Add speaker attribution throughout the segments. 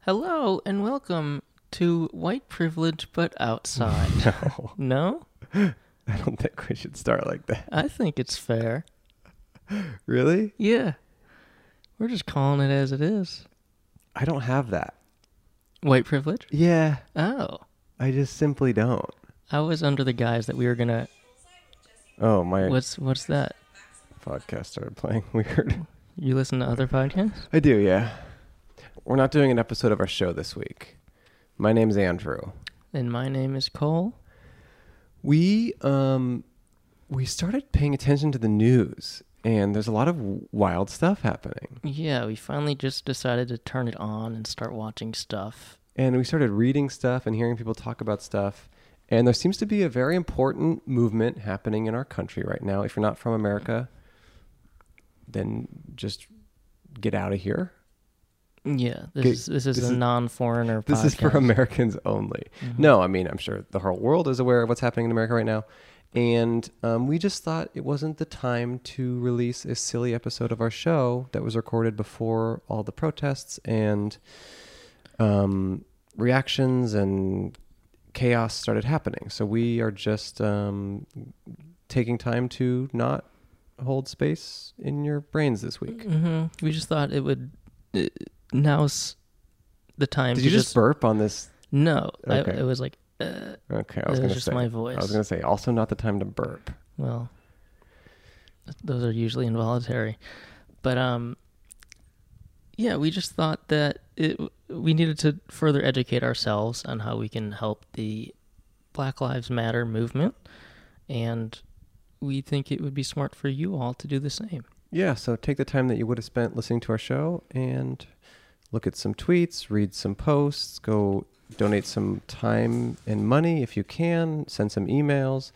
Speaker 1: Hello and welcome to White Privilege But Outside.
Speaker 2: No,
Speaker 1: no?
Speaker 2: I don't think we should start like that.
Speaker 1: I think it's fair.
Speaker 2: Really?
Speaker 1: Yeah. We're just calling it as it is.
Speaker 2: I don't have that.
Speaker 1: White privilege?
Speaker 2: Yeah,
Speaker 1: Oh.
Speaker 2: I just simply don't.
Speaker 1: I was under the guise that we were gonna
Speaker 2: Oh, my
Speaker 1: what's what's that?
Speaker 2: podcast started playing weird.
Speaker 1: You listen to other podcasts?
Speaker 2: I do, yeah. We're not doing an episode of our show this week. My name's Andrew.
Speaker 1: And my name is Cole.
Speaker 2: We um we started paying attention to the news and there's a lot of wild stuff happening.
Speaker 1: Yeah, we finally just decided to turn it on and start watching stuff.
Speaker 2: And we started reading stuff and hearing people talk about stuff. And there seems to be a very important movement happening in our country right now. If you're not from America, then just get out of here.
Speaker 1: Yeah, this
Speaker 2: Okay,
Speaker 1: is this is
Speaker 2: this
Speaker 1: a
Speaker 2: is-
Speaker 1: non-foreigner
Speaker 2: This is
Speaker 1: podcast.
Speaker 2: for
Speaker 1: Mm-hmm.
Speaker 2: Americans only. No, I mean, I'm sure the whole world is aware of what's happening in America right now. And um, we just thought it wasn't the time to release a silly episode of our show that was recorded before all the protests and um, reactions and chaos started happening. So we are just um, taking time to not hold space in your brains this week.
Speaker 1: hmm We just thought it would. Uh, now's the time.
Speaker 2: Did
Speaker 1: to
Speaker 2: you just burp on this?
Speaker 1: No, I-
Speaker 2: Okay.
Speaker 1: it was like uh,
Speaker 2: Okay, I
Speaker 1: it
Speaker 2: was
Speaker 1: was
Speaker 2: going to
Speaker 1: just
Speaker 2: say.
Speaker 1: my
Speaker 2: I
Speaker 1: voice.
Speaker 2: was going to say also not the time to burp.
Speaker 1: Well, th- those are usually involuntary, but um, yeah, we just thought that it we needed to further educate ourselves on how we can help the Black Lives Matter movement, and we think it would be smart for you all to do the same.
Speaker 2: Yeah, so take the time that you would have spent listening to our show and look at some tweets, read some posts, go donate some time and money if you can, send some emails,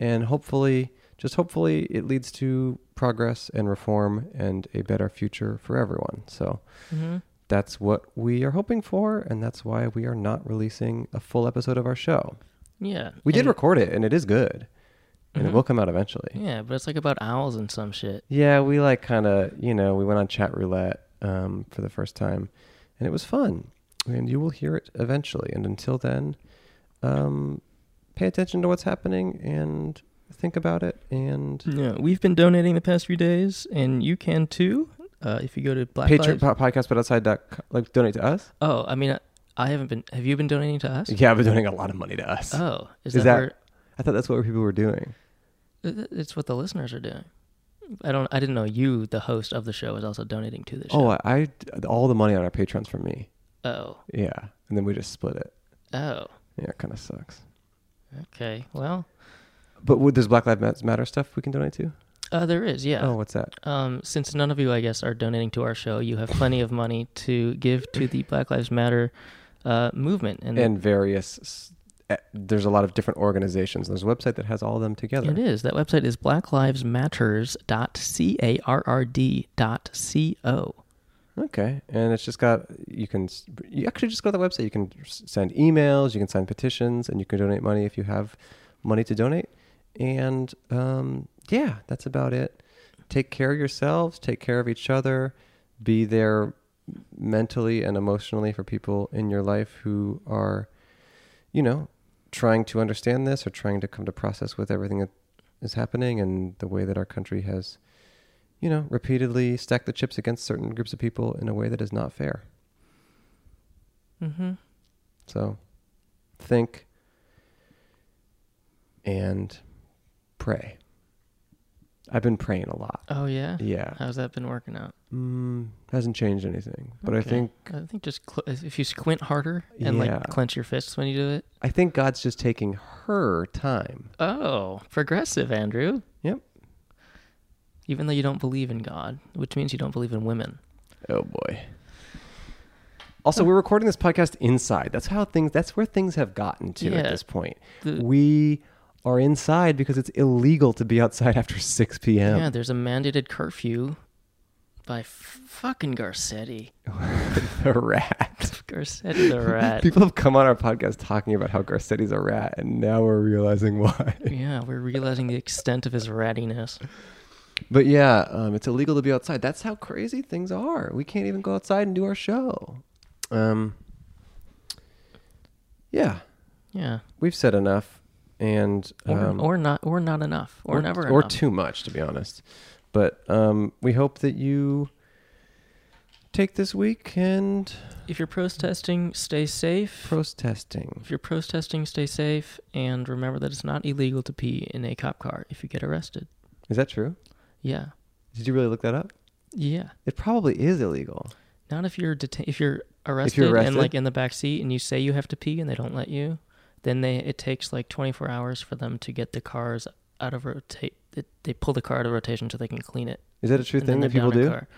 Speaker 2: and hopefully, just hopefully, it leads to progress and reform and a better future for everyone. So
Speaker 1: Mm-hmm.
Speaker 2: that's what we are hoping for, and that's why we are not releasing a full episode of our show.
Speaker 1: Yeah,
Speaker 2: We did
Speaker 1: and-
Speaker 2: record it, and it is good, and
Speaker 1: Mhm.
Speaker 2: it will come out eventually.
Speaker 1: Yeah, but it's like about owls and some shit.
Speaker 2: Yeah, we like kind of, you know, we went on chat roulette um, for the first time, and it was fun. And you will hear it eventually. And until then, um, pay attention to what's happening and think about it. And
Speaker 1: Yeah, we've been donating the past few days, and you can too. Uh, if you go to Black Lives.
Speaker 2: Patreon po- podcast, but outside dot co- like donate to us.
Speaker 1: Oh, I mean, I, I haven't been. Have you been donating to us?
Speaker 2: Yeah, I've been donating a lot of money to us.
Speaker 1: Oh, is,
Speaker 2: Is
Speaker 1: that,
Speaker 2: that- I thought that's what people were doing.
Speaker 1: where, th- th- it's what the listeners are doing? I don't. I didn't know you, the host of the show, is also donating to the show.
Speaker 2: Oh, I, I all the money on our patrons from me.
Speaker 1: Oh,
Speaker 2: Yeah, and then we just split it.
Speaker 1: oh, oh.
Speaker 2: Yeah, it kind of sucks.
Speaker 1: Okay. Well,
Speaker 2: But would there's Black Lives Matter stuff we can donate to?
Speaker 1: uh, there is. Yeah.
Speaker 2: Oh, what's that?
Speaker 1: Um, since none of you, I guess, are donating to our show, you have plenty of money to give to the Black Lives Matter uh, movement, and,
Speaker 2: and various s- eh, there's a lot of different organizations there's a website that has all of them together
Speaker 1: It is. That website is blacklivesmatters.carrd.co.
Speaker 2: okay and it's just got you can s- you actually just go to the website you can s- send emails you can sign petitions and you can donate money if you have money to donate and um, yeah that's about it take care of yourselves take care of each other be there mentally and emotionally for people in your life who are you know trying to understand this or trying to come to process with everything that is happening and the way that our country has you know repeatedly stacked the chips against certain groups of people in a way that is not fair
Speaker 1: Mm-hmm.
Speaker 2: so think and pray i've been praying a lot
Speaker 1: Oh, yeah?
Speaker 2: yeah
Speaker 1: How's that been working out?
Speaker 2: mm, hasn't changed anything but i
Speaker 1: Okay.
Speaker 2: think
Speaker 1: I think just cl- if you squint harder and
Speaker 2: Yeah.
Speaker 1: like clench your fists when you do it.
Speaker 2: i think god's just taking her time
Speaker 1: Oh, progressive, Andrew.
Speaker 2: Yep.
Speaker 1: Even though you don't believe in God, which means you don't believe in women.
Speaker 2: Oh boy. Also, we're recording this podcast inside. That's how things. That's where things have gotten to
Speaker 1: Yeah.
Speaker 2: at this point.
Speaker 1: The-
Speaker 2: we are inside because it's illegal to be outside after six p.m.
Speaker 1: Yeah, there's a mandated curfew by f- fucking Garcetti.
Speaker 2: the rat.
Speaker 1: Garcetti the rat.
Speaker 2: People have come on our podcast talking about how Garcetti's a rat, and now we're realizing why.
Speaker 1: yeah, we're realizing the extent of his rattiness.
Speaker 2: But yeah, um, it's illegal to be outside. That's how crazy things are. We can't even go outside and do our show. Um, Yeah,
Speaker 1: Yeah.
Speaker 2: we've said enough, and
Speaker 1: Or,
Speaker 2: um,
Speaker 1: or not or not enough. Or, never
Speaker 2: or
Speaker 1: enough.
Speaker 2: too much, to be honest. But um, we hope that you take this week and
Speaker 1: If you're protesting, stay safe.
Speaker 2: protesting.
Speaker 1: if you're protesting, stay safe and remember that it's not illegal to pee in a cop car if you get arrested.
Speaker 2: Is that true?
Speaker 1: Yeah.
Speaker 2: Did you really look that up?
Speaker 1: Yeah.
Speaker 2: It probably is illegal.
Speaker 1: Not if you're deta- if you're arrested,
Speaker 2: arrested?
Speaker 1: and like in the back seat and you say you have to pee and they don't let you, then they it takes like 24 hours for them to get the cars out of rotate. They, they pull the car out of rotation so they can clean it.
Speaker 2: Is that a true
Speaker 1: and
Speaker 2: thing
Speaker 1: then
Speaker 2: that
Speaker 1: they're
Speaker 2: people
Speaker 1: down a
Speaker 2: do?
Speaker 1: car.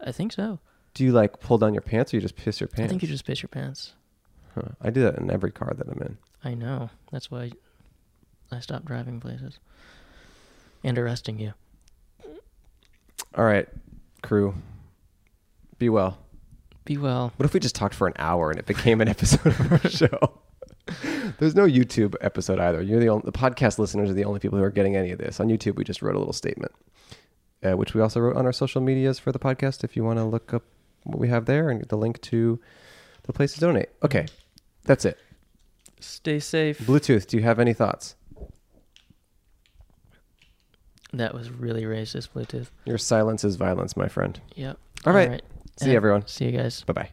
Speaker 1: I think so.
Speaker 2: Do you like pull down your pants or you just piss your pants?
Speaker 1: I think you just piss your pants.
Speaker 2: Huh. I do that in every car that I'm in.
Speaker 1: I know. That's why I stopped driving places and arresting you.
Speaker 2: All right, crew. Be well.
Speaker 1: Be well.
Speaker 2: What if we just talked for an hour and it became an episode of our show? There's no YouTube episode either. You're the only, the podcast listeners are the only people who are getting any of this. On YouTube, we just wrote a little statement, uh, which we also wrote on our social medias for the podcast. If you want to look up what we have there and get the link to the place to donate. Okay, that's it.
Speaker 1: Stay safe.
Speaker 2: Bluetooth. Do you have any thoughts?
Speaker 1: That was really racist, Bluetooth.
Speaker 2: Your silence is violence, my friend.
Speaker 1: Yep.
Speaker 2: All right. See you,
Speaker 1: Have-
Speaker 2: everyone.
Speaker 1: See you guys.
Speaker 2: Bye bye.